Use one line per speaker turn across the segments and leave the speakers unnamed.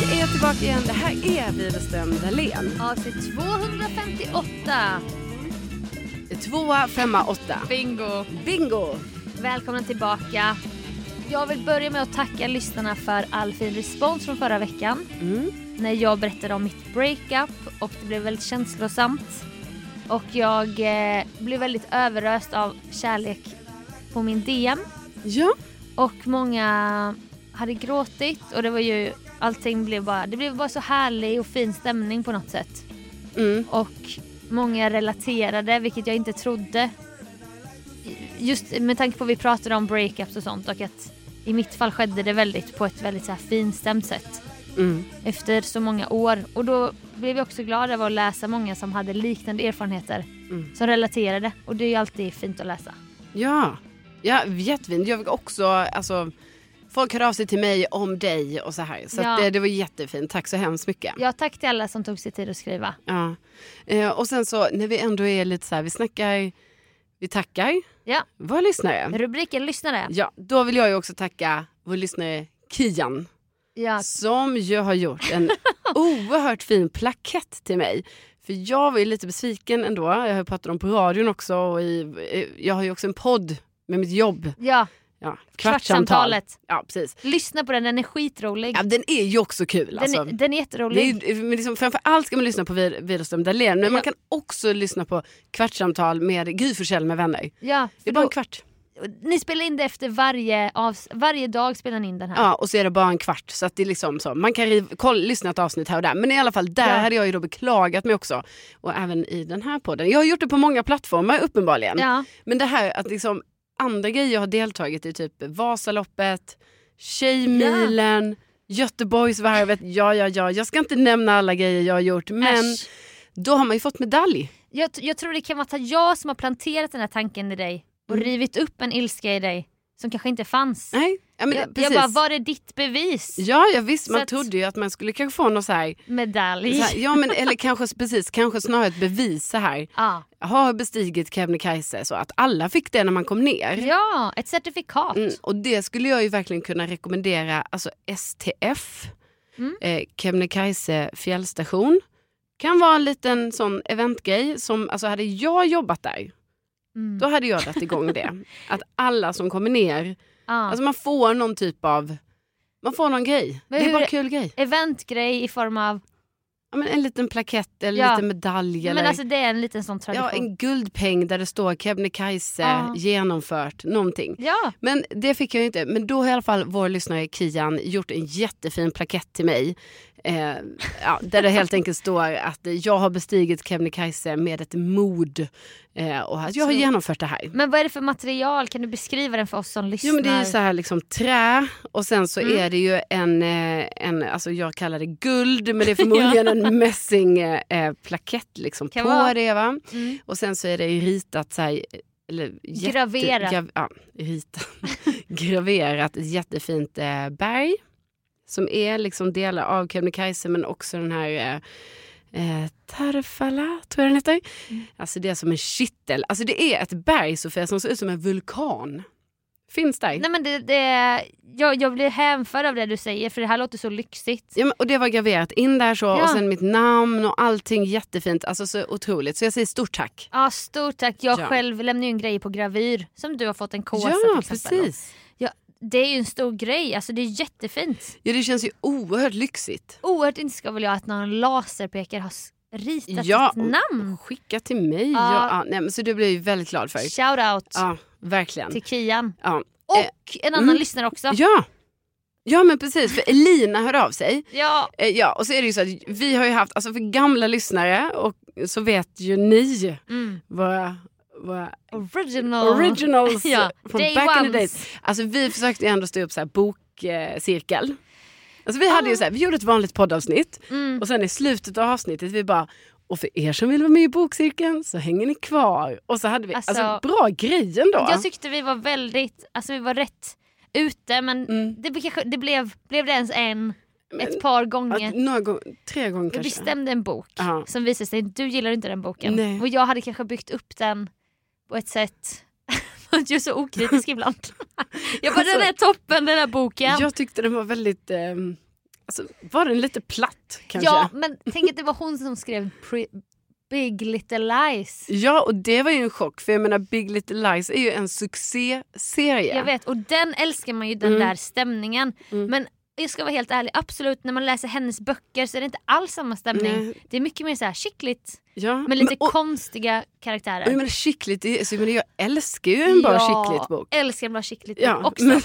tillbaka igen. Det här är Widerström Dahlén.
Avsnitt 258.
Tvåa, femma, åtta.
Bingo.
Bingo!
Välkomna tillbaka. Jag vill börja med att tacka lyssnarna för all fin respons från förra veckan.
Mm.
När jag berättade om mitt breakup och det blev väldigt känslosamt. Och jag eh, blev väldigt överöst av kärlek på min DM.
Ja,
Och många hade gråtit och det var ju allting blev bara, det blev bara så härlig och fin stämning på något sätt.
mm.
Och många relaterade vilket jag inte trodde. Just med tanke på att vi pratade om breakups och sånt och att i mitt fall skedde det väldigt på ett väldigt så här finstämt sätt
Mm.
efter så många år. Och då blev jag också glad över att läsa många som hade liknande erfarenheter
Mm.
som relaterade och det är ju alltid fint att läsa.
ja. ja jättefint. Jag fick också, alltså, folk hörde av sig till mig om dig och så här. Så
Ja.
att eh, det, det var jättefint. Tack så hemskt mycket.
Ja, tack till alla som tog sig tid att skriva.
Ja. Eh, och sen så när vi ändå är lite så här, vi snackar, vi tackar
Ja,
våra lyssnare.
rubriken lyssnare.
Ja, då vill jag ju också tacka vår lyssnare Kian.
Ja,
Som ju har gjort en oerhört fin plakett till mig. För jag var ju lite besviken ändå. Jag har ju pratat om på radion också. Och i, eh, jag har ju också en podd med mitt jobb.
ja
Ja, kvartsamtal.
kvartsamtalet.
Ja, precis.
Lyssna på den, den är skitrolig.
Ja, den är ju också kul.
Den,
alltså.
är, den är jätterolig.
Det är, ju- men liksom, framförallt ska man lyssna på Wi- Widerström Dahlén. Men man
Ja.
kan också lyssna på Kvartsamtal med Gry Forssell med vänner.
Ja,
Det
för
är bara
då,
en kvart.
ni spelar in det efter varje avs- varje dag spelar ni in den här.
Ja, och så är det bara en kvart. Så att det är liksom så. Man kan riv, koll, lyssna ett avsnitt här och där. Men i alla fall, där
Ja.
hade jag ju då beklagat mig också. Och även i den här podden. Jag har gjort det på många plattformar uppenbarligen.
Ja,
Men det här att liksom andra grejer jag har deltagit i, typ Vasaloppet, Tjejmilen, Göteborgsvarvet. Ja, ja, ja. Jag ska inte nämna alla grejer jag har gjort. Men
äsch.
då har man ju fått medalj.
jag, t- jag tror det kan vara att jag som har planterat den här tanken i dig och
Mm.
rivit upp en ilska i dig som kanske inte fanns.
Nej, ja, men,
jag, jag
precis.
bara, var är ditt bevis?
Ja, ja visst.
Så
Man
att-
trodde ju att man skulle kanske få någon så här... Så
Medalj.
här ja, men, eller kanske, precis, kanske snarare ett bevis så här.
Ja.
Har bestigit Kebnekaise så att alla fick det när man kom ner.
ja, ett certifikat.
Mm, och det skulle jag ju verkligen kunna rekommendera, alltså STF,
Mm.
eh, Kebnekaise fjällstation. Kan vara en liten sån eventgrej som, alltså hade jag jobbat där,
Mm.
då hade jag dragit igång det. Att alla som kommer ner,
Ja.
alltså man får någon typ av, man får någon grej.
Men
det är
hur-
bara en kul grej.
Eventgrej i form av,
Ja, men en liten plakett eller en
Ja.
liten medalj. Eller,
men alltså det är en liten sån tradition.
ja, en guldpeng där det står Kebnekaise
Ja.
genomfört, någonting.
ja.
Men det fick jag ju inte. Men då har i alla fall vår lyssnare Kian gjort en jättefin plakett till mig. Eh, ja, där det helt enkelt står att eh, jag har bestigit Kebnekaise med ett mod. Eh, och att jag har
Så-
genomfört det här.
Men vad är det för material? Kan du beskriva den för oss som lyssnar?
Jo men det är ju så här liksom trä och sen så
Mm.
är det ju en, eh, en, alltså jag kallar det guld men det är förmodligen en mässingplakett eh, plakett liksom
Kan
på
vara.
det va.
Mm.
Och sen så är det ritat så här, eller jätte-
Graverat.
Grav, ja, ritat. graverat ett jättefint eh, berg. Som är liksom delar av Kebnekaise men också den här eh, eh, Tarfala, tror jag den heter.
Mm.
Alltså det är som en kittel. Alltså det är ett berg Sofia som ser ut som en vulkan. Finns där.
Nej men det, det, jag, jag blir hänförd av det du säger för det här låter så lyxigt.
Ja, men, och det var graverat in där så
Ja.
och sen mitt namn och allting jättefint. Alltså så otroligt. Så jag säger stort tack.
Ja stort tack, jag
Ja.
själv lämnar ju en grej på gravyr som du har fått en kåsa
ja,
till exempel.
precis.
Det är ju en stor grej, alltså det är jättefint.
Ja, det känns ju oerhört lyxigt.
Oerhört inte ska väl jag att någon laserpekare har s- ritat
Ja,
ditt namn.
Skicka till mig. Ja.
Mm. Ja.
Ja, nej, men så det blev jag ju väldigt glad för.
Shoutout
Ja, verkligen.
till Kian.
Ja.
Och en annan
mm.
lyssnare också.
ja. Ja men precis, för Elina hörde av sig.
Ja,
Eh, Ja, och så är det ju så att vi har ju haft, alltså för gamla lyssnare och så vet ju ni
mm.
våra, våra
original.
originals
Ja,
från
day
back in
ones.
the days. Alltså vi försökte ju ändå stå upp så här bokcirkel. Alltså vi hade ju så här, vi gjorde ett vanligt poddavsnitt
Mm.
och sen i slutet av avsnittet vi bara och för er som vill vara med i bokcirkeln så hänger ni kvar. Och så hade vi, alltså,
Alltså,
bra grejen då.
Jag tyckte vi var väldigt, alltså vi var rätt ute men
Mm.
det, blev kanske- det blev, blev det ens en,
Men-
ett par gånger.
Ja, några gång, tre gånger
Vi
kanske.
bestämde en bok
Ja.
som visade sig, du gillar inte den boken.
Nej.
Och jag hade kanske byggt upp den på ett sätt, jag är så okritisk ibland. jag bara
Alltså-
den är toppen den här boken.
Jag tyckte den var väldigt, ehm, Alltså, var den lite platt kanske?
Ja, men tänk att det var hon som skrev pre- Big Little Lies.
Ja, och det var ju en chock för jag menar Big Little Lies är ju en succéserie.
Jag vet, och den älskar man ju, den
Mm.
där stämningen.
Mm.
Men jag ska vara helt ärlig, absolut när man läser hennes böcker så är det inte alls samma stämning.
Nej.
Det är mycket mer så här chickligt
Ja.
med lite
och,
konstiga karaktärer.
och jag menar chickligt, är- så jag, menar, jag älskar ju en bra chickligt bok.
älskar en bra chickligt bok
Ja,
också.
men,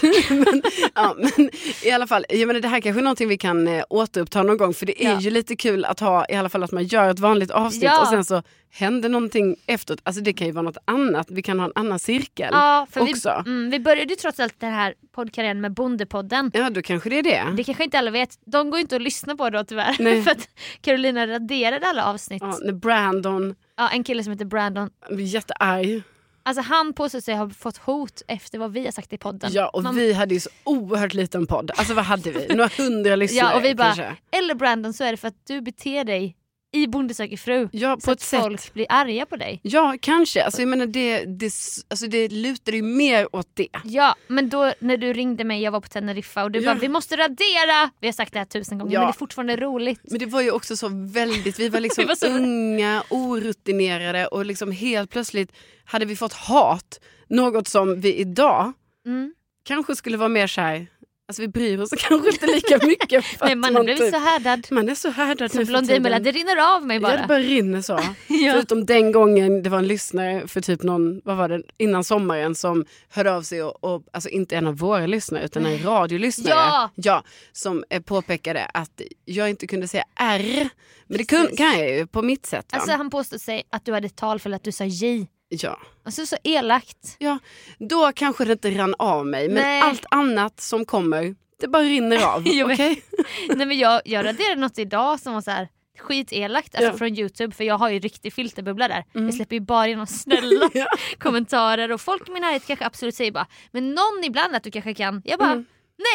men, ja, men i alla fall, jag menar, det här kanske är någonting vi kan eh, återuppta någon gång för det är
Ja.
ju lite kul att ha i alla fall att man gör ett vanligt avsnitt
Ja.
och sen så händer någonting efteråt. Alltså det kan ju vara något annat, vi kan ha en annan cirkel
Ja, för vi,
också.
mm, vi började ju trots allt den här poddkarriären med Bondepodden.
Ja, då kanske det är det.
Det kanske inte alla vet, de går ju inte att lyssna på då tyvärr.
Nej.
för att Carolina raderade alla avsnitt.
Ja,
Ja.
när Brandon
en kille som heter Brandon,
blir jättearg.
alltså han påstår sig ha fått hot efter vad vi har sagt i podden.
Ja, och
Man-
vi hade ju så oerhört liten podd. Alltså vad hade vi? Några hundra lyssnare
Ja, och vi bara-
kanske.
Eller Brandon så är det för att du beter dig i Bonde söker fru.
Ja,
Så
på
att
ett sätt.
folk blir arga på dig.
Ja, kanske. Alltså, jag menar, det, det, s- alltså, det lutar ju mer åt det.
Ja men då när du ringde mig, jag var på Teneriffa och du
Ja.
bara vi måste radera! Vi har sagt det här tusen gånger
Ja.
men det är fortfarande roligt.
Men det var ju också så väldigt, vi var liksom
Vi var så-
unga, orutinerade och liksom helt plötsligt hade vi fått hat. Något som vi idag
Mm.
kanske skulle vara mer så här, alltså vi bryr oss kanske inte lika mycket. För
Nej,
att
man har blivit
typ-
så härdad.
man är så härdad
Som
nu för tiden.
Blondinbella, det rinner av mig
Ja, det
bara.
bara rinner så.
Ja.
Förutom den gången det var en lyssnare för typ någon, vad var det, innan sommaren som hörde av sig och, och alltså inte en av våra lyssnare utan en radiolyssnare.
Ja!
ja som eh, påpekade att jag inte kunde säga R. Men det
Precis.
kun, kan jag ju på mitt sätt. Va?
Alltså han påstod sig att du hade ett tal för att du sa J.
ja.
Alltså så elakt.
ja, då kanske det inte rann av mig men
Nej.
allt annat som kommer det bara rinner av.
Jag vet.
Mm, Okej?
Nej men jag, jag raderade något idag som var så här skitelakt alltså
Ja.
från youtube för jag har ju riktig filterbubbla där.
Mm.
Jag släpper ju bara igenom snälla
Ja.
kommentarer och folk i min närhet kanske absolut säger bara men någon ibland att du kanske kan. Jag bara
Mm.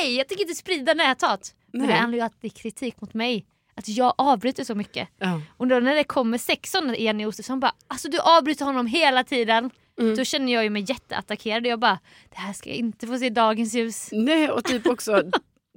nej jag tänker inte sprida näthat. Men
Nej.
det handlar ju alltid kritik mot mig. Att jag avbryter så mycket.
Ja.
Och då när det kommer sex sådana Jenny Josefsson bara alltså du avbryter honom hela tiden.
Mm.
Då känner jag ju mig jätteattackerad och jag bara det här ska jag inte få se dagens ljus.
Nej, och typ också,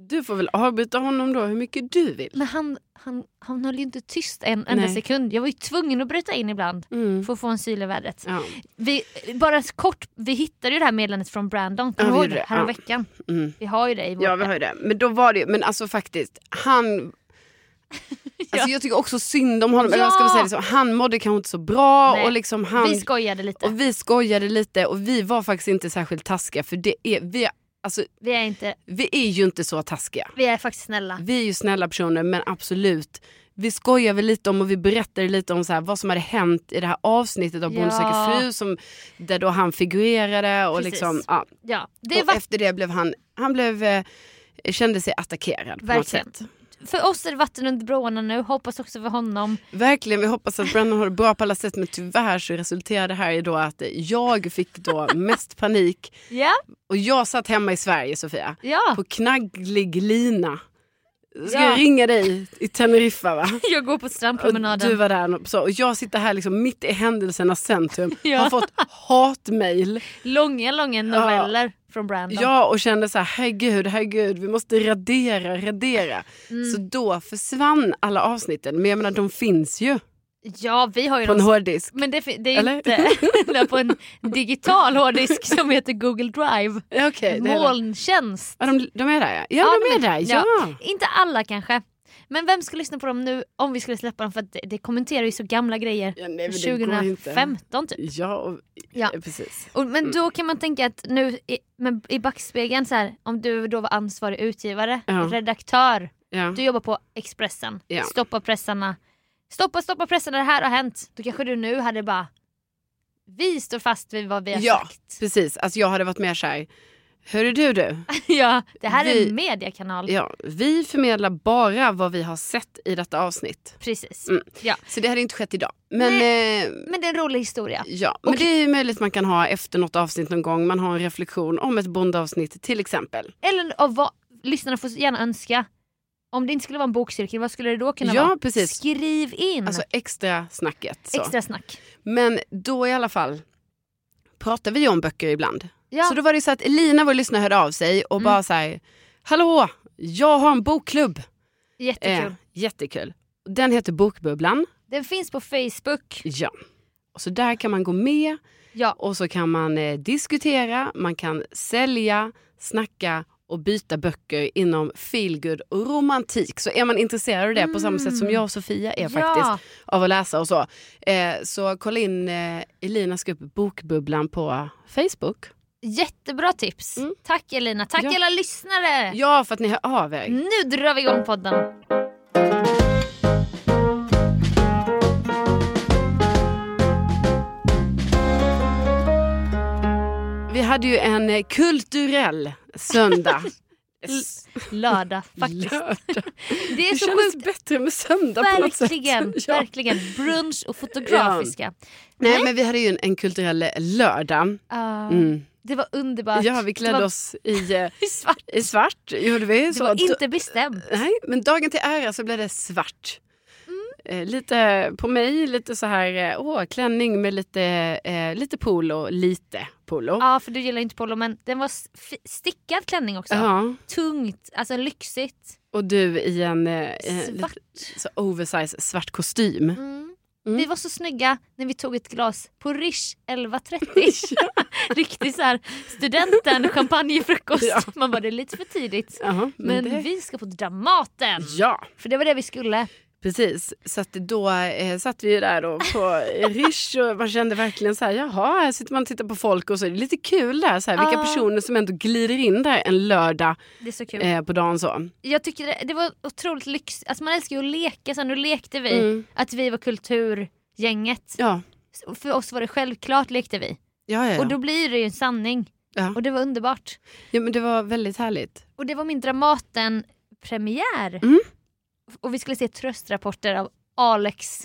du får väl avbryta honom då hur mycket du vill.
Men han, han, han höll ju inte tyst en enda
Nej.
sekund. Jag var ju tvungen att bryta in ibland
Mm.
för att få en syl i vädret.
Ja.
Vi, bara kort, vi hittade ju det här meddelandet från Brandon, kommer
Ja,
du
vi
ihåg
gjorde
det?
det.
Härom veckan.
Mm.
Vi har ju det i vår
Ja, vi har ju det. Men då var det ju- men alltså faktiskt, han... Alltså jag tycker också synd om honom. Eller vad ska man säga, liksom, han mådde kanske inte så bra
Nej.
och liksom han...
Vi skojade lite.
och vi skojade lite och vi var faktiskt inte särskilt taskiga för det är, vi, är, alltså,
Vi, är inte,
vi är ju inte så taskiga.
vi är faktiskt snälla.
Vi är ju snälla personer men absolut, vi skojar väl lite om och vi berättade lite om så här, vad som hade hänt i det här avsnittet av Bonde
Ja.
söker fru som, där då han figurerade och,
Precis.
liksom, ja.
Ja, det
och
var,
efter det blev han, han blev, eh, kände sig attackerad på något
Verkligen.
sätt.
för oss är det vatten under broarna nu, hoppas också för honom.
Verkligen, vi hoppas att Brandon har det bra på alla sätt men tyvärr så resulterade det här i då att jag fick då mest panik
Ja,
och jag satt hemma i Sverige Sofia
ja.
på knagglig lina. Ska
Ah. Ja.
jag ringa dig i Teneriffa va?
jag går på
Och
strandpromenaden.
du var där och så, och jag sitter här liksom mitt i händelsernas centrum.
Ja.
Har fått hatmejl.
Långa, långa noveller från Brandon.
Ja och kände så här herregud, herregud vi måste radera, radera.
Mm.
Så då försvann alla avsnitten men jag menar de finns ju
ja vi har ju
på en hårddisk.
Men det, fi- det är ju
Eller?
inte eller på en digital hårddisk som heter Google Drive.
Ja, okej, det är det.
Molntjänst.
Ja, de, de är där ja. Ja, de,
Ja, de
är där. Ja.
Inte alla kanske. Men vem ska lyssna på dem nu om vi skulle släppa dem? För att det, det kommenterar ju så gamla grejer.
Ja, nej, men det går inte. Mm.
2015 typ.
Ja, och,
Ja.
ja. precis.
Och, men då kan man tänka att nu i, men i backspegeln så här, om du då var ansvarig utgivare,
Ja.
redaktör,
Ja.
du jobbar på Expressen,
Ja.
stoppa pressarna. Stoppa, stoppa pressarna, det här har hänt. Då kanske du nu hade bara, vi står fast vid vad vi har
Ja.
sagt.
Precis, alltså jag hade varit mer så här. Hörru du du,
Ja, det här är
Vi-
en mediekanal.
ja, vi förmedlar bara vad vi har sett i detta avsnitt.
Precis.
Mm.
Ja.
Så det hade inte skett idag. Men, eh,
Men det är en rolig historia.
ja. men
Okej.
det är ju möjligt man kan ha efter något avsnitt någon gång. Man har en reflektion om ett bondavsnitt till exempel.
Eller av vad lyssnarna får gärna önska. Om det inte skulle vara en bokcirkel, vad skulle det då kunna
Ja,
vara?
precis.
Skriv in
Alltså extra snacket. Så.
extra snack.
Men då i alla fall pratar vi ju om böcker ibland.
Ja. Mm.
Så då var det så att Elina, vår lyssnare, hörde av sig och bara så här, hallå, jag har en bokklubb.
Jättekul.
Eh, jättekul. Den heter Bokbubblan.
Den finns på Facebook.
Ja. Och så där kan man gå med
Ja,
och så kan man eh, diskutera, man kan sälja, snacka och byta böcker inom feelgood och romantik. Så är man intresserad av det på samma sätt som jag och Sofia är faktiskt
Mm. ja.
av att läsa och så. Eh, så kolla in eh, Elinas grupp Bokbubblan på Facebook.
Jättebra tips.
Mm.
Tack Elina. Tack
Ja.
alla lyssnare.
Ja, för att ni hör av er.
Nu drar vi igång podden.
Vi hade ju en eh, kulturell söndag. S-
Lördag faktiskt.
Lördag.
Det är
Det
så
kändes
sjukt.
bättre med söndag på något sätt.
Verkligen,
Ja.
verkligen. Brunch och fotografiska.
Nej, men vi hade ju en, en kulturell lördag.
Ah,
Mm.
Det var underbart.
Ja, vi
det
klädde
var,
oss i, eh,
i svart.
i svart. Gjorde vi.
Det
Så
var
då-
inte bestämt.
Nej, men dagen till ära så blev det svart.
Mm.
Eh, lite på mig, lite så här, eh, åh, klänning med lite, eh, lite polo, lite polo.
Ja, för du gillar ju inte polo men den var s- f- stickad klänning också.
Ja,
Tungt, alltså lyxigt.
och du i en eh, eh,
Svart.
lite så oversize svart kostym.
Mm.
Mm.
Vi var så snygga när vi tog ett glas på Rish 11.30. Riktig så här studenten champagnefrukost.
Ja.
Man bara det är lite för tidigt.
Ja,
Men vi ska på Dramaten!
Ja,
För det var det vi skulle.
precis. Så att då eh, satt vi ju där då på Rish och man kände verkligen så här, jaha, här sitter man och tittar på folk och så är det lite kul där, så här, vilka
Ja.
personer som ändå glider in där en lördag
Det är så kul.
eh, på dagen så.
Jag tycker det, det var otroligt lyxigt. Alltså man älskar ju att leka. Så nu lekte vi.
Mm.
Att vi var kulturgänget.
Ja,
Så För oss var det självklart lekte vi.
ja, ja. ja.
Och då blir det ju en sanning.
Ja.
Och det var underbart.
ja men det var väldigt härligt.
Och det var min Dramaten-premiär.
Mm.
Och vi skulle se tröstrapporter av Alex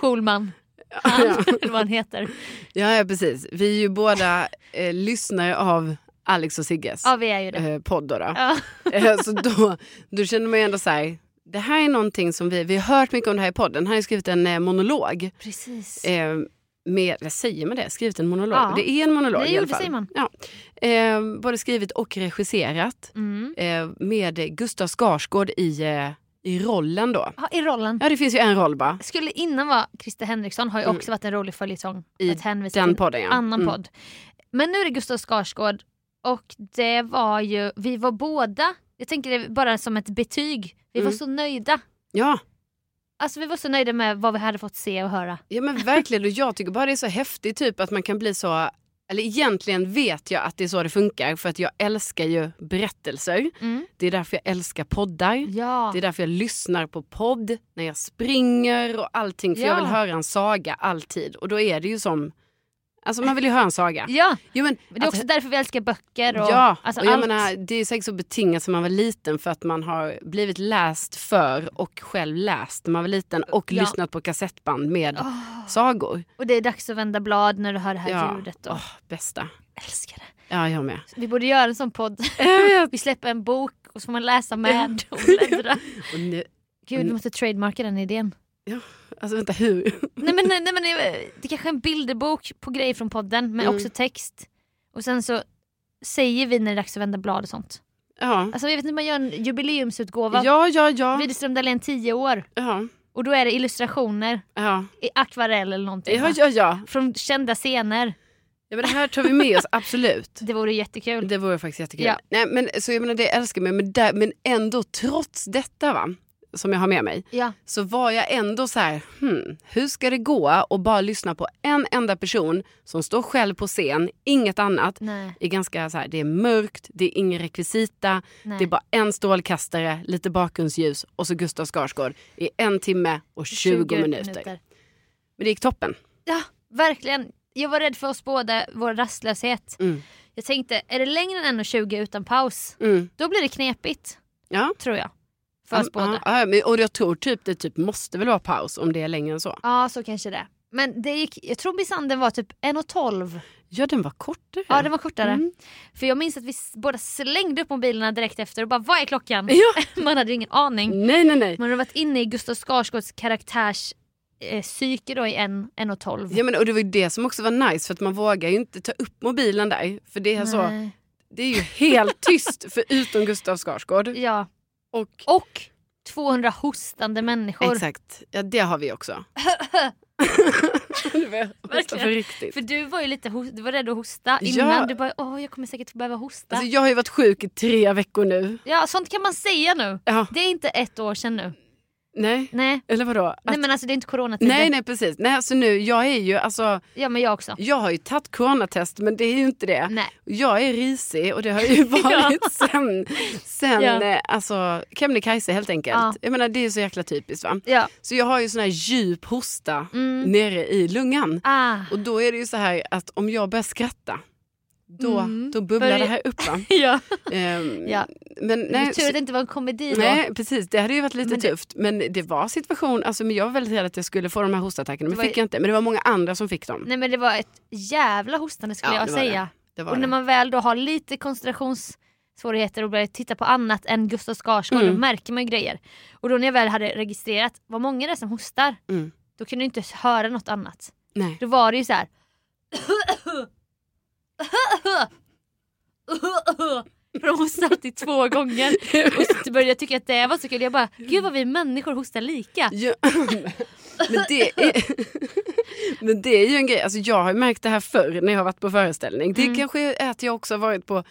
Schulman. Han,
Ja,
eller vad han heter.
ja, ja precis. Vi är ju båda eh, lyssnare av Alex och Sigges
Ja vi är ju det.
eh, podd. Då, då.
Ja.
Eh, så då, då känner man ju ändå så här, det här är någonting som vi, vi har hört mycket om det här i podden. Han har ju skrivit en eh, monolog.
Precis.
Eh, med, eller säger man det? Skrivit en monolog?
Ja.
Det är en monolog
Nej,
i
jo,
alla
det
fall.
säger man.
Ja. Eh, både skrivit och regisserat
Mm.
eh, med Gustav Skarsgård i, eh, i rollen då.
Ja, I rollen.
Ja, det finns ju en roll bara
Skulle innan vara Christer Henriksson har ju
Mm.
också varit en rolig följetong.
I
att hänvisa
den
till
podden. Ja.
annan
Mm.
podd. Men nu är det Gustav Skarsgård och det var ju, vi var båda, jag tänker det bara som ett betyg, vi var
Mm.
så nöjda.
Ja.
Alltså vi var så nöjda med vad vi hade fått se och höra.
ja, men verkligen. Och jag tycker bara det är så häftigt typ att man kan bli så... Eller egentligen vet jag att det är så det funkar för att jag älskar ju berättelser.
Mm.
Det är därför jag älskar poddar.
Ja.
Det är därför jag lyssnar på podd när jag springer och allting. För
Ja.
jag vill höra en saga alltid. Och då är det ju som... Alltså man vill ju höra en saga.
ja,
Jo, men,
men det är
att-
också därför vi älskar böcker och,
Alltså- ja,
alltså
och jag
allt.
menar, det är säkert så betingat som man var liten för att man har blivit läst för och själv läst när man var liten och
Ja.
lyssnat på kassettband med
Åh,
sagor.
och det är dags att vända blad när du hör det här
Ja.
ljudet. Och,
Åh, bästa.
Älskar det.
Ja, jag med.
Vi borde göra en sån podd. vi släpper en bok och så får man läsa med och bläddra.
Och nu,
Gud, vi måste trademarka den idén.
alltså vänta, hur?
Nej men, nej, nej, men eh, det- det kanske är en bilderbok på grejer från podden men
Mm.
också text. Och sen så säger vi när det är dags att vända blad och sånt.
Ja,
Alltså jag vet inte, man gör en jubileumsutgåva.
ja, ja. Ja,
Widerström Dahlén 10 år.
ja.
Och då är det illustrationer
ja.
i akvarell eller någonting.
ja,
va?
ja, ja.
Från kända scener.
Ja, men det här tar vi med oss, absolut.
Det vore jättekul.
Det vore faktiskt jättekul.
Ja.
Nej, men, så jag menar, det älskar mig, men, där, men ändå trots detta va, som jag har med mig,
Ja.
så var jag ändå så här, hmm, hur ska det gå och bara lyssna på en enda person som står själv på scen, inget annat.
Nej.
Är ganska så här, det är mörkt, det är ingen rekvisita,
nej.
det är bara en strålkastare, lite bakgrundsljus och så Gustav Skarsgård i en timme och 20, minuter. Men det gick toppen.
Ja, verkligen. Jag var rädd för oss båda, vår rastlöshet.
Mm.
Jag tänkte, är det längre än 1.20 utan paus?
Mm.
Då blir det knepigt.
Ja.
Tror jag. För oss
Ja,
båda.
Ja, ja, men- och jag tror typ det typ måste väl vara paus om det är längre än så.
Ja, så kanske det. Men det gick, jag tror Bisanden var typ 1.12.
Ja, den var kortare.
Ja, den var kortare.
Mm.
För jag minns att vi s- båda slängde upp mobilerna direkt efter och bara vad är klockan?
Ja. Mm.
Man hade ju ingen aning.
Nej, nej, nej.
Man hade varit inne i Gustav Skarsgårds karaktärs eh, psyke då i en- 1.12.
Ja, men, och det var ju det som också var nice för att man vågar ju inte ta upp mobilen där. För det är, så,
Nej.
det är ju helt tyst förutom Gustav Skarsgård.
Ja.
Och
Och 200 hostande människor.
Exakt, ja det har vi också. du börjar hosta på
Verkligen.
riktigt.
För du var ju lite hos- du var rädd att hosta innan.
Ja.
Du bara åh jag kommer säkert behöva hosta.
Alltså, jag har ju varit sjuk i tre veckor nu.
Ja sånt kan man säga nu.
Ja,
Det är inte ett år sedan nu.
nej,
Nej,
eller vadå? Att,
nej men alltså det är inte coronatider.
nej, nej precis. Nej, alltså nu, jag är ju, alltså,
Ja men jag också.
jag har ju tagit coronatest men det är ju inte det.
Nej.
Jag är risig och det har jag ju varit sen, sen
Ja.
eh, alltså, Kebnekaise helt enkelt.
Ja.
Jag menar det är ju så jäkla typiskt va.
Ja.
Så jag har ju sån här djup hosta
Mm.
nere i lungan.
Ah.
Och då är det ju så här att om jag börjar skratta då,
Mm.
då bubblar
Börjar-
det här upp va.
Ja.
Ehm,
ja.
Men nej,
tur att det inte var en komedi då.
Nej, precis. Det hade ju varit lite
Men det-
tufft. Men det var situation, alltså, men jag var väldigt rädd att jag skulle få de här hostattackerna.
Det
Men
var ju- Mm.
fick jag inte. Men det var många andra som fick dem.
Nej men det var ett jävla hostande skulle
Ja,
jag
det var
säga.
Det var
Och
det.
när man väl då har lite koncentrationssvårigheter och börjar titta på annat än Gustav Skarsgård
Mm.
då märker man ju grejer. Och då när jag väl hade registrerat vad många det är som hostar
Mm.
då kunde jag inte höra något annat.
Nej.
Då var det ju så här. För de hostade alltid två gånger. Och så började jag tycka att det var så kul. Jag bara, gud vad vi människor hostar lika.
Ja, men, det är, men det är ju en grej. Alltså, jag har ju märkt det här förr när jag har varit på föreställning. Det
Mm.
kanske är att jag också har varit på...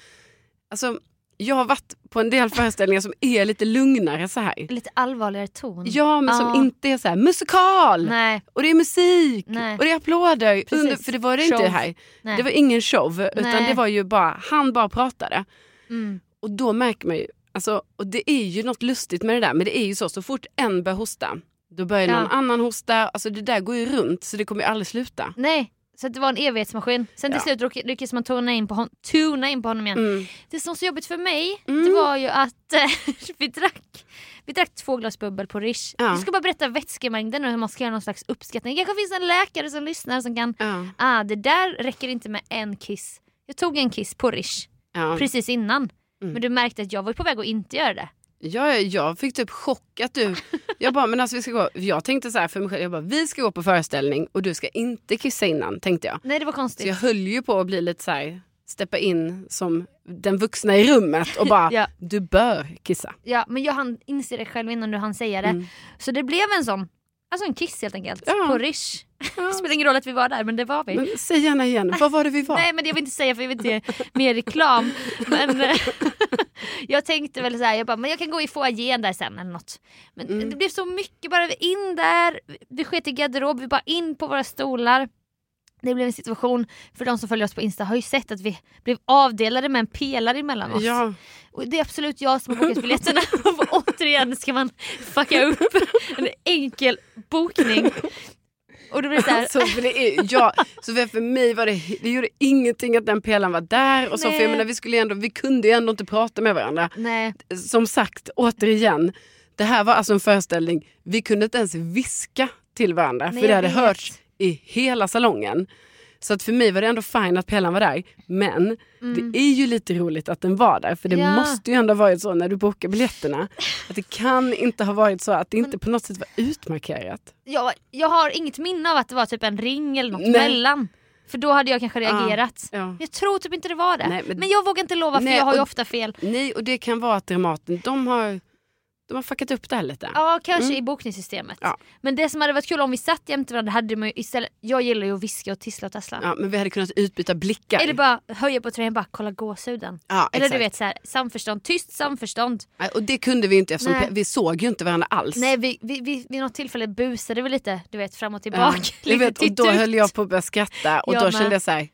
Alltså, jag har varit på en del föreställningar som är lite lugnare så här.
Lite allvarligare ton.
Ja, men
Mm. Ja.
som inte är så här musikal
Nej,
och det är musik
Nej.
och det är applåder.
Precis.
Under, för det var det inte
Show.
här.
nej.
Det var ingen show utan
Nej.
det var ju bara, han bara pratade.
mm.
Och då märker man ju, alltså, och det är ju något lustigt med det där, men det är ju så, så fort en börjar hosta, då börjar
Ja.
någon annan hosta, alltså det där går ju runt så det kommer ju aldrig sluta.
nej. Så att det var en evighetsmaskin. Sen till
Ja.
slut råk- lyckades man tona in på, hon- tuna in på honom igen.
Mm.
Det som var så jobbigt för mig
Mm.
det var ju att eh, vi, drack, vi drack två glas bubbel på Rish.
Ja.
Du ska bara berätta vätskemängden och hur man ska göra någon slags uppskattning. Det kanske finns en läkare som lyssnar som kan,
Ja.
ah det där räcker inte med en kiss. Jag tog en kiss på Rish
Ja.
precis innan.
Mm.
Men du märkte att jag var ju på väg att inte göra det.
Jag, jag fick typ chock att du, jag bara men alltså vi ska gå, jag tänkte så här för mig själv, jag bara vi ska gå på föreställning och du ska inte kissa innan tänkte jag.
Nej det var
Så jag
konstigt.
höll ju på att bli lite så här, steppa in som den vuxna i rummet och bara
Ja.
du bör kissa.
Ja, men jag hann inse det själv innan du hann säga det.
Mm.
Så det blev en sån, alltså en kiss helt enkelt.
Ja.
På Rish.
Ja.
Det spelar ingen roll att vi var där men det var vi.
Men säg gärna igen, vad var det vi var?
Nej men det vill jag inte säga för jag vill inte ge mer reklam. Men eh, jag tänkte väl så här, jag bara, men jag kan gå i foajén där sen eller något. Men
Mm.
det blev så mycket, bara in där, vi sket i garderob, vi bara in på våra stolar. Det blev en situation, för de som följer oss på Insta har ju sett att vi blev avdelade med en pelare emellan oss.
Ja.
Och det är absolut jag som har bokat biljetterna. Och återigen ska man fucka upp en enkel bokning. Och då blir det så här,
Alltså, för, det är, ja, så för, för mig var det, det gjorde ingenting att den pelaren var där. Och så, för
Nej.
jag menar, vi, skulle ju ändå, vi kunde ju ändå inte prata med varandra.
nej.
Som sagt, återigen. Det här var alltså en föreställning. Vi kunde inte ens viska till varandra.
Nej,
för det
jag
hade
vet.
hörts i hela salongen. Så att för mig var det ändå fint att pelaren var där. Men
Mm.
det är ju lite roligt att den var där. För det
Ja.
måste ju ändå ha varit så när du bokar biljetterna. Att det kan inte ha varit så att det inte på något sätt var utmarkerat.
Jag, jag har inget minne av att det var typ en ring eller något
Nej.
mellan. För då hade jag kanske
Ja.
reagerat.
Ja.
Jag tror typ inte det var det.
Nej,
men...
men-
jag vågar inte lova för
Nej,
jag har ju
och-
ofta fel.
Nej, och det kan vara att Dramaten, de har, de har fuckat upp det här lite.
Ja kanske
Mm.
i bokningssystemet.
Ja.
Men det som hade varit kul om vi satt jämte varandra hade man ju istället, jag gillar ju att viska och tissla och tassla.
Ja, men vi hade kunnat utbyta blickar.
Eller bara höja på tröjan och bara kolla gåshuden.
ja,
Eller du
exakt.
vet så här, samförstånd, tyst samförstånd.
Nej, Och det kunde vi ju inte eftersom
Nej.
pe- vi såg ju inte varandra alls.
Nej vi, vi, vi, vid något tillfälle busade vi lite, du vet fram och
Ja,
tillbaka.
jag
Lite
vet, och då
titt liksom, ut.
höll jag på att börja skratta och
Jag
då
med.
kände jag så här,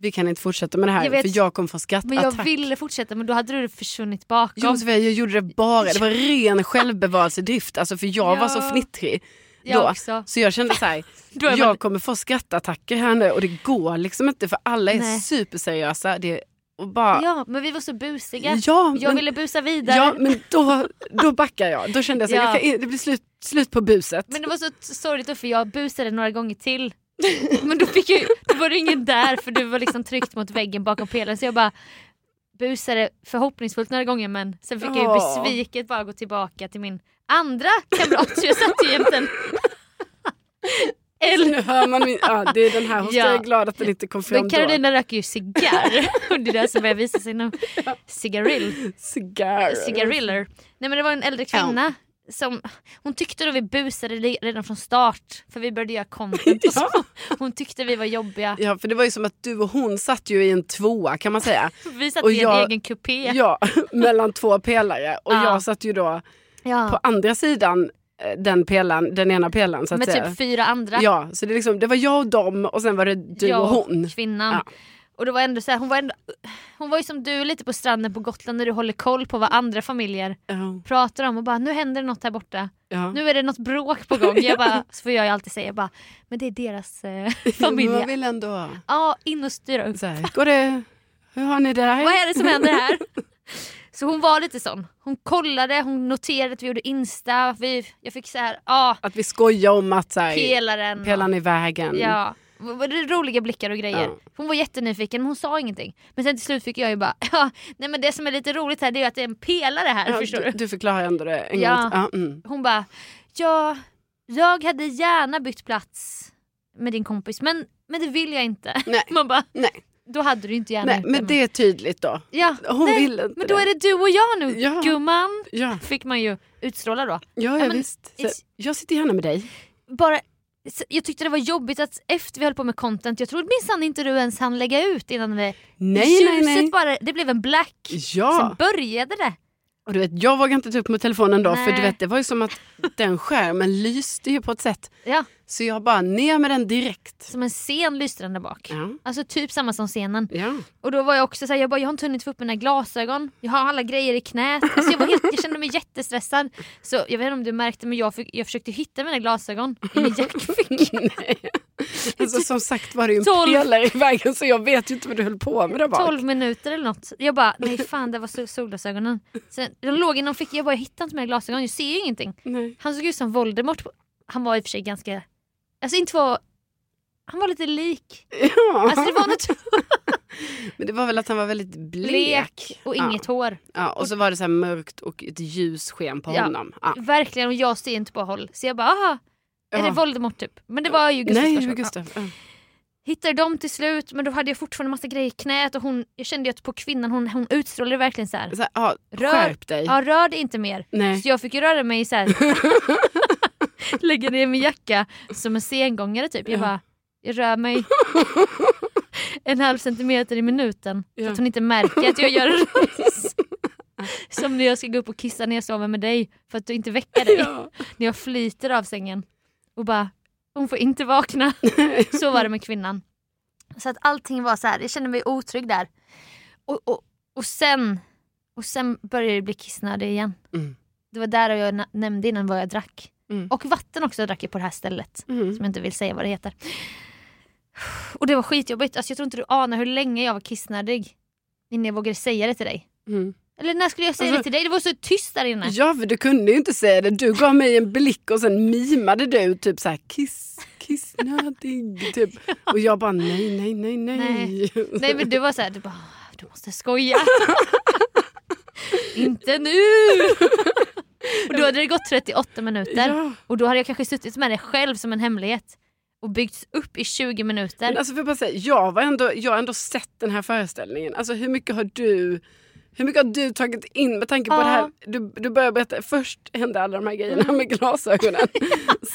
vi kan inte fortsätta med det här
Jag vet.
för jag kommer få skrattattack.
Men jag ville fortsätta men då hade du försvunnit bakom.
Jo, Sofia, jag gjorde det bara, det var ren självbevarelsedrift alltså för jag
Ja.
var så fnittrig.
jag
då.
också.
Så jag kände så här,
Då är man-
jag kommer få skrattattacker här nu och det går liksom inte för alla är
Nej.
superseriösa. Det, är- och bara,
Ja, men vi var så busiga.
ja,
jag
men-
ville busa vidare.
Ja, men då, då backar jag. Då kände jag så här,
Ja.
jag kan, det blir slut, slut på buset.
Men det var så t- sorgligt då, för jag busade några gånger till. Men då, fick jag, ju- då var det ingen där för du var liksom tryckt mot väggen bakom pelaren. Så jag bara busade förhoppningsfullt några gånger men sen fick jag ju
Ja.
besviket bara gå tillbaka till min andra kamrat. Så jag satt ju jämte en
Så
eld.
nu hör man min, ja, det är den här hosten.
Ja.
Jag är glad att den inte kom fram
Men
då.
Carolina röker ju cigarr och det är det som börjar visa sig nu. Cigarill.
Cigarr.
cigariller. Nej men det var en äldre kvinna som, hon tyckte då vi busade re- redan från start för vi började göra content och så. Hon tyckte vi var jobbiga.
Ja, för det var ju som att du och hon satt ju i en tvåa kan man säga.
Vi satt
Och
i
jag-
en egen kupé.
Ja, mellan två pelare. Och
Ja.
jag satt ju då
Ja.
på andra sidan eh, den, pelan, den ena pelaren så att
med
säga.
typ fyra andra.
Ja, så det, är liksom, det var jag och dem och sen var det du
Jag
och hon.
Kvinnan.
Ja.
Och det var ändå så här, hon, var ändå, hon var ju som du lite på stranden på Gotland när du håller koll på vad andra familjer
Ja,
pratar om och bara nu händer det något här borta.
ja.
Nu är det något bråk på gång. Jag bara, så får jag ju alltid säga jag bara, men det är deras eh,
Jag
familj.
vill ändå...
Ja, in och styra upp.
Så här, går det... Hur har ni det där?
Vad är det som händer här? Så hon var lite sån. Hon kollade, hon noterade att vi gjorde Insta. Vi, jag fick så här, ja,
Att vi skojar om att så här,
pelaren. och-
Mm. pelaren i vägen.
Ja. V- var det Roliga blickar och grejer.
Ja.
Hon var jättenyfiken men hon sa ingenting. Men sen till slut fick jag ju bara, ja, nej men det som är lite roligt här det är ju att det är en pelare här,
Ja,
förstår
du,
du?
du förklarar ändå det en
Ja.
gång till. ja, mm.
Hon bara, ja, jag hade gärna bytt plats med din kompis men, men det vill jag inte.
Nej.
Man bara,
Nej.
då hade du inte gärna
Nej,
gjort
men det är tydligt då.
Ja,
Hon
nej,
vill inte
men då är det du och jag nu
Ja.
gumman.
Ja,
Fick man ju utstråla då.
ja, ja,
men
visst. Så,
it's-
jag sitter gärna med dig.
Bara, s- jag tyckte det var jobbigt att efter vi höll på med content, jag trodde minsann inte du ens hann lägga ut innan vi
Nej, nej,
Ljuset
nej.
bara, det blev en black. Sen
Ja,
började det.
och du vet, jag vågade inte ta upp med telefonen då för
Nej.
du vet, det var ju som att den skärmen lyste ju på ett sätt.
Ja,
Så jag bara ner med den direkt.
som en scen lyste den där bak.
Ja,
Alltså typ samma som scenen.
ja.
Och då var jag också såhär, jag bara jag har inte hunnit få upp mina glasögon. Jag har alla grejer i knät. Alltså jag, var helt, jag kände mig jättestressad. Så jag vet inte om du märkte men jag, fick, jag försökte hitta mina glasögon i min jackficka.
Nej. Alltså, som sagt var det ju en
Tolv.
pelare i vägen så jag vet ju inte vad du höll på med där bak.
12 minuter eller något. Jag bara, nej fan det var sol- solglasögonen. Sen, de låg i någon ficka, jag bara jag hittar inte mina glasögon, jag ser ju ingenting.
Nej.
Han såg ut som Voldemort. Han var i och för sig ganska, alltså inte var, han var lite lik.
Ja.
Alltså det var något
Men det var väl att han var väldigt blek.
Blek och inget hår.
Ja, och så var det så här mörkt och ett ljussken på
Ja.
honom. Ja.
Verkligen, och jag ser inte på håll. Så jag bara, aha, är det
Ja.
Voldemort typ? Men det var ju Gustav
Nej,
Skarsgård.
Gustav. Ja.
Ja. Hittade dem till slut, men då hade jag fortfarande massa grejer i knät och hon, jag kände ju att på kvinnan, hon, hon utstrålade verkligen så här.
Så här, ja,
Rör-
skärp dig.
Ja, rör dig inte mer.
Nej.
Så jag fick ju röra mig så här. lägga ner min jacka som en sengångare typ. Jag
Ja.
bara, jag rör mig en halv centimeter i minuten. Så
Ja.
att hon inte märker att jag gör en rörelse. Som när jag ska gå upp och kissa när jag sover med dig för att du inte väcker dig.
Ja.
När jag flyter av sängen och bara, hon får inte vakna. Så var det med kvinnan. Så att allting var så här, jag kände mig otrygg där. Och, och, och sen och sen började det bli kissnödig igen.
Mm.
Det var där jag na- nämnde innan vad jag drack.
Mm.
Och vatten också drack jag på det här stället.
Mm.
Som jag inte vill säga vad det heter. Och det var skitjobbigt. Alltså, jag tror inte du anar hur länge jag var kissnödig. Innan jag vågade säga det till dig.
Mm.
Eller när skulle jag säga
Alltså-
det till dig? Det var så tyst där inne.
Ja, för du kunde ju inte säga det. Du gav mig en blick och sen mimade du typ så här kiss, kissnödig. Typ. Och jag bara nej, nej, nej, nej.
Nej men du var såhär, du bara, "Ah, du måste skoja. inte nu! och då hade det gått 38 minuter.
Ja.
Och då hade jag kanske suttit med det själv som en hemlighet. Och byggts upp i 20 minuter.
Men alltså för bara säga, jag, var ändå, jag har ändå sett den här föreställningen. Alltså hur mycket har du, hur mycket har du tagit in med tanke på
Ja. Mm.
det här? Du, du börjar berätta, först hände alla de här grejerna med glasögonen.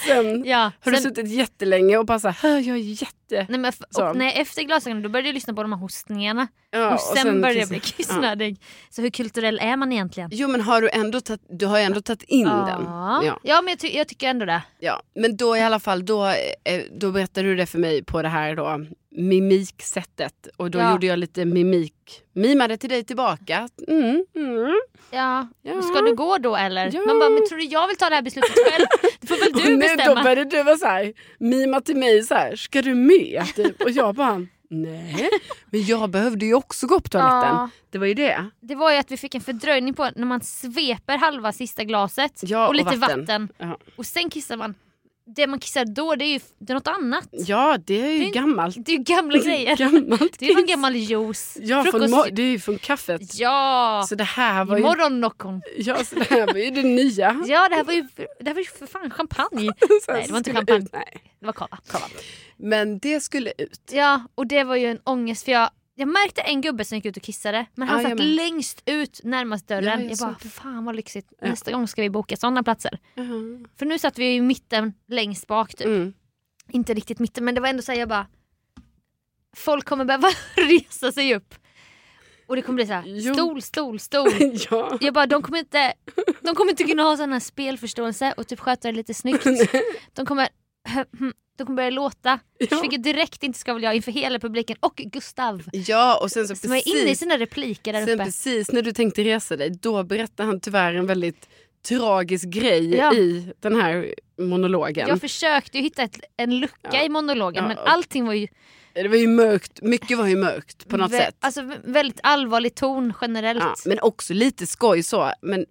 Sen
ja,
har du
sen-
suttit jättelänge och bara så här, "Hör, jag är jätte...
Nej, men f-
Så.
och, nej, efter glasögonen då började jag lyssna på de här hostningarna
Ja,
och sen, började jag
kiss-
bli kissnödig. Så hur kulturell är man egentligen?
Jo men har du ändå tagit, du har ju ändå tagit in den.
ja.
Ja,
ja men jag, ty- jag tycker ändå det.
ja. Men då i alla fall, då, eh, då berättade du det för mig på det här då mimiksättet. Och då
Ja.
gjorde jag lite mimik, mimade till dig tillbaka. Mm, mm.
Ja.
Ja.
Ska du gå då eller?
Ja.
Man bara, men tror du jag vill ta det här beslutet själv? Det får väl du
och nu Då
bestämma.
började du vara så här, mima till mig så här, ska du med? Typ. Och jag bara, nej. Men jag behövde ju också gå på toaletten.
Ja.
Det var ju det.
Det var ju att vi fick en fördröjning på när man sveper halva sista glaset
Ja,
och
och
lite vatten.
vatten. Ja.
Och sen kissar man. Det man kissar då det är ju f- det är något annat.
Ja, det är ju
Det-
gammalt.
Det är ju gamla grejer.
Gammalt
Det är ju en
kiss.
gammal juice.
Ja, från
Frukost.
mo- det är ju från kaffet.
Ja!
Så det här var ju,
Imorgon Noccon.
ja, så det, här var ju det nya.
Ja det här var ju det här var ju för fan champagne.
Så här
Nej, det var inte
skulle
champagne.
ut. Nej.
Det var kava.
Men det skulle ut.
Ja och det var ju en ångest för jag Jag märkte en gubbe som gick ut och kissade men han
Ja, jag
satt
med.
längst ut närmast
Ja,
dörren.
jag
jag
såg
bara,
det.
fan vad lyxigt.
Ja.
Nästa gång ska vi boka sådana platser.
Jaha.
För nu satt vi ju i mitten längst bak typ.
Mm.
Inte riktigt mitten men det var ändå såhär jag bara, folk kommer behöva resa sig upp. Och det kommer bli såhär,
Jo.
stol, stol, stol.
ja.
Jag bara, de kommer inte, de kommer inte kunna ha sån här spelförståelse och typ sköta det lite snyggt. De kommer, de kommer börja låta,
Ja.
vilket direkt inte ska väl jag inför hela publiken och Gustav.
ja, och sen så
Som är inne i
precis,
sina repliker där
sen
uppe.
precis när du tänkte resa dig, då berättade han tyvärr en väldigt tragisk grej
Ja.
i den här monologen.
Jag försökte ju hitta ett, en lucka
Ja.
i monologen
Ja,
men
och-
allting var ju
Det var ju mörkt, mycket var ju mörkt på något
vä-
sätt.
Alltså, vä- väldigt allvarlig ton generellt.
Ja, men också lite skoj så. Men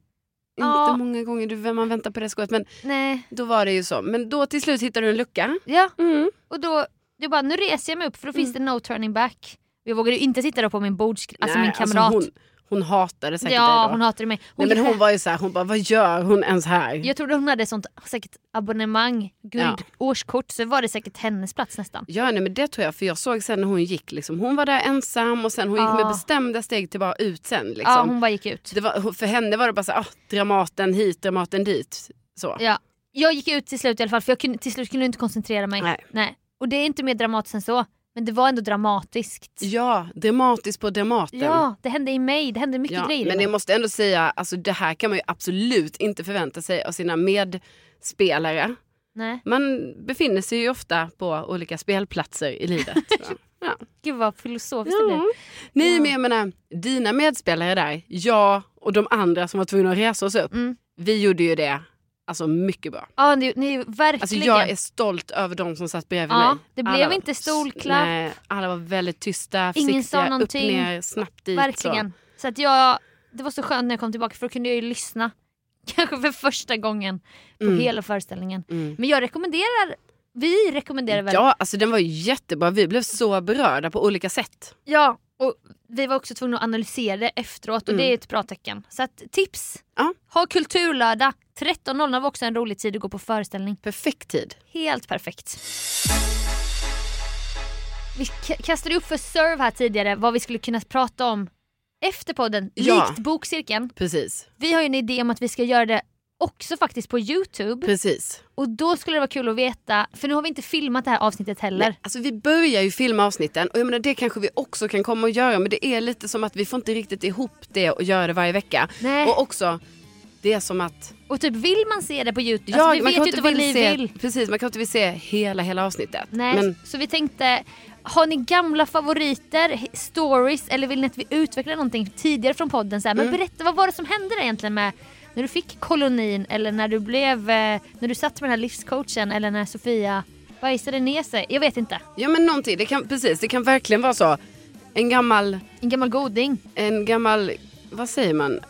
Ja.
inte många gånger du, man väntar på det skojet. Men
Nej.
då var det ju så. Men då till slut hittade du en lucka.
Ja,
Mm.
och då, jag bara nu reser jag mig upp för då finns det no turning back. Jag vågade ju inte sitta då på min bords, alltså
Nej,
min kamrat.
hon, hon hatade säkert dig
ja,
då.
hon hatade mig. Hon,
Nej, men hon var ju så här, hon bara vad gör hon ens här?
Jag trodde hon hade sånt säkert abonnemang, guld,
Ja.
årskort, så var det säkert hennes plats nästan.
Ja, nej, men det tror jag. För jag såg sen när hon gick, liksom, hon var där ensam och sen hon
Ja.
gick med bestämda steg till bara ut sen. Liksom.
Ja, hon bara gick ut.
det var, för henne var det bara så här, ah, Dramaten hit, Dramaten dit. Så.
Ja. Jag gick ut till slut i alla fall för jag kunde, till slut kunde jag inte koncentrera mig.
Nej.
Och det är inte mer dramatiskt än så, men det var ändå dramatiskt.
Ja, dramatiskt på Dramaten.
Ja, det hände i mig, det hände mycket
Ja,
grejer. i
men
mig.
jag måste ändå säga, alltså, det här kan man ju absolut inte förvänta sig av sina medspelare.
Nej.
Man befinner sig ju ofta på olika spelplatser i livet. va? ja.
Gud vad filosofiskt det blev.
Ja. Nej
Ja.
men jag menar, dina medspelare där, jag och de andra som var tvungna att resa oss upp.
Mm.
Vi gjorde ju det alltså mycket bra.
Ja, ni, ni verkligen.
Alltså jag är stolt över de som satt bredvid
Ja,
mig.
det blev
Alla var-
inte stolklapp.
Nej, alla var väldigt tysta,
Ingen
försiktiga,
sa någonting.
upp ner, snabbt dit.
verkligen. Så. att jag, det var så skönt när jag kom tillbaka för då kunde jag ju lyssna. Kanske för första gången på
Mm.
hela föreställningen.
Så. Mm.
Men jag rekommenderar, vi rekommenderar väl
Ja, alltså den var ju jättebra. Vi blev så berörda på olika sätt.
Ja, och vi var också tvungna att analysera det efteråt och
Mm.
det är ett bra tecken. Så att, tips!
Ja.
Ha kulturlördag. 13.00 var också en rolig tid att gå på föreställning.
Perfekt tid.
Helt perfekt. Vi k- kastade upp för serve här tidigare vad vi skulle kunna prata om efter podden,
Ja.
likt bokcirkeln.
Precis,
Vi har ju en idé om att vi ska göra det också faktiskt på Youtube
precis.
och då skulle det vara kul att veta, för nu har vi inte filmat det här avsnittet heller.
Nej, alltså vi börjar ju filma avsnitten och jag menar, det kanske vi också kan komma och göra men det är lite som att vi får inte riktigt ihop det och göra det varje vecka.
Nej.
Och också, det är som att...
Och typ vill man se det på Youtube, alltså, vi
man
vet
kan
ju inte vad ni
se,
vill.
Precis, man kan inte vilja se hela, hela avsnittet.
Nej,
Men
så vi tänkte, har ni gamla favoriter, hi- stories eller vill ni att vi utvecklar någonting tidigare från podden? Så här,
Mm.
Men berätta, vad var det som hände där egentligen med när du fick kolonin eller när du blev, eh, när du satt med den här livscoachen eller när Sofia bajsade ner sig? Jag vet inte.
ja men någonting, det kan, precis, det kan verkligen vara så. En gammal,
En gammal goding.
en gammal, vad säger man?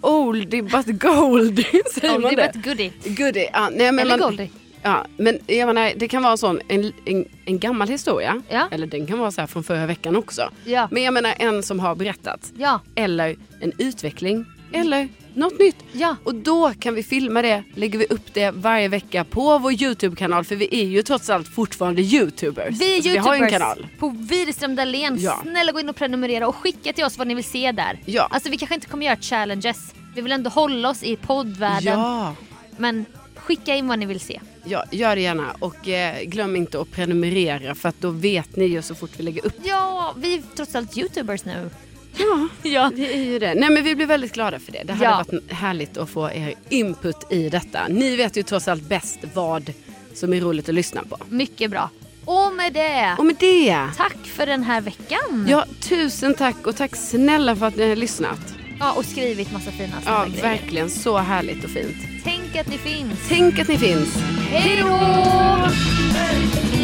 Oldie but goldie, säger man
Oldie
det?
but goodie.
Goodie, ja, nej, men
eller
man,
goldie.
Ja, men jag menar, det kan vara sån, en, en, en gammal historia.
Ja.
Eller den kan vara så här från förra veckan också.
Ja.
Men jag menar en som har berättats.
Ja.
Eller en utveckling. Eller något nytt.
Ja.
Och då kan vi filma det, lägger vi upp det varje vecka på vår YouTube-kanal. För vi är ju trots allt fortfarande YouTubers.
Vi är
Alltså,
youtubers
Vi har ju en kanal.
på Widerström Dahlén.
Ja.
Snälla gå in och prenumerera och skicka till oss vad ni vill se där.
Ja.
Alltså vi kanske inte kommer göra challenges. Vi vill ändå hålla oss i poddvärlden.
Ja.
Men skicka in vad ni vill se.
ja, gör det gärna. Och eh, glöm inte att prenumerera för att då vet ni ju så fort vi lägger upp.
Ja, vi är trots allt youtubers nu.
Ja.
Ja.
Det är ju det. Nej men vi blir väldigt glada för det. Det
Ja.
hade varit härligt att få er input i detta. Ni vet ju trots allt bäst vad som är roligt att lyssna på.
Mycket bra. Och med det,
Och med det,
tack för den här veckan.
ja tusen tack och tack snälla för att ni har lyssnat.
Ja, och skrivit massa fina snälla
Ja,
grejer.
verkligen så härligt och fint.
Tänk att ni finns.
Tänk att ni finns.
Hej då!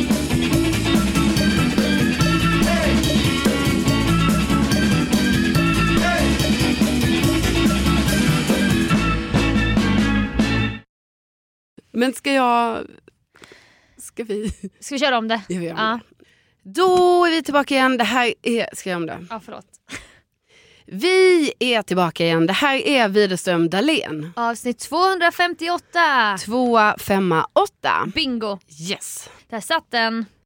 Men ska jag... Ska vi?
Ska vi köra om det?
Ja, vi gör
Ja,
Då är vi tillbaka igen. Det här är... Ska jag göra om det?
ja förlåt.
Vi är tillbaka igen. Det här är Widerström Dahlén.
Avsnitt 258.
Tvåa, femma, åtta.
Bingo.
Yes.
Där satt den.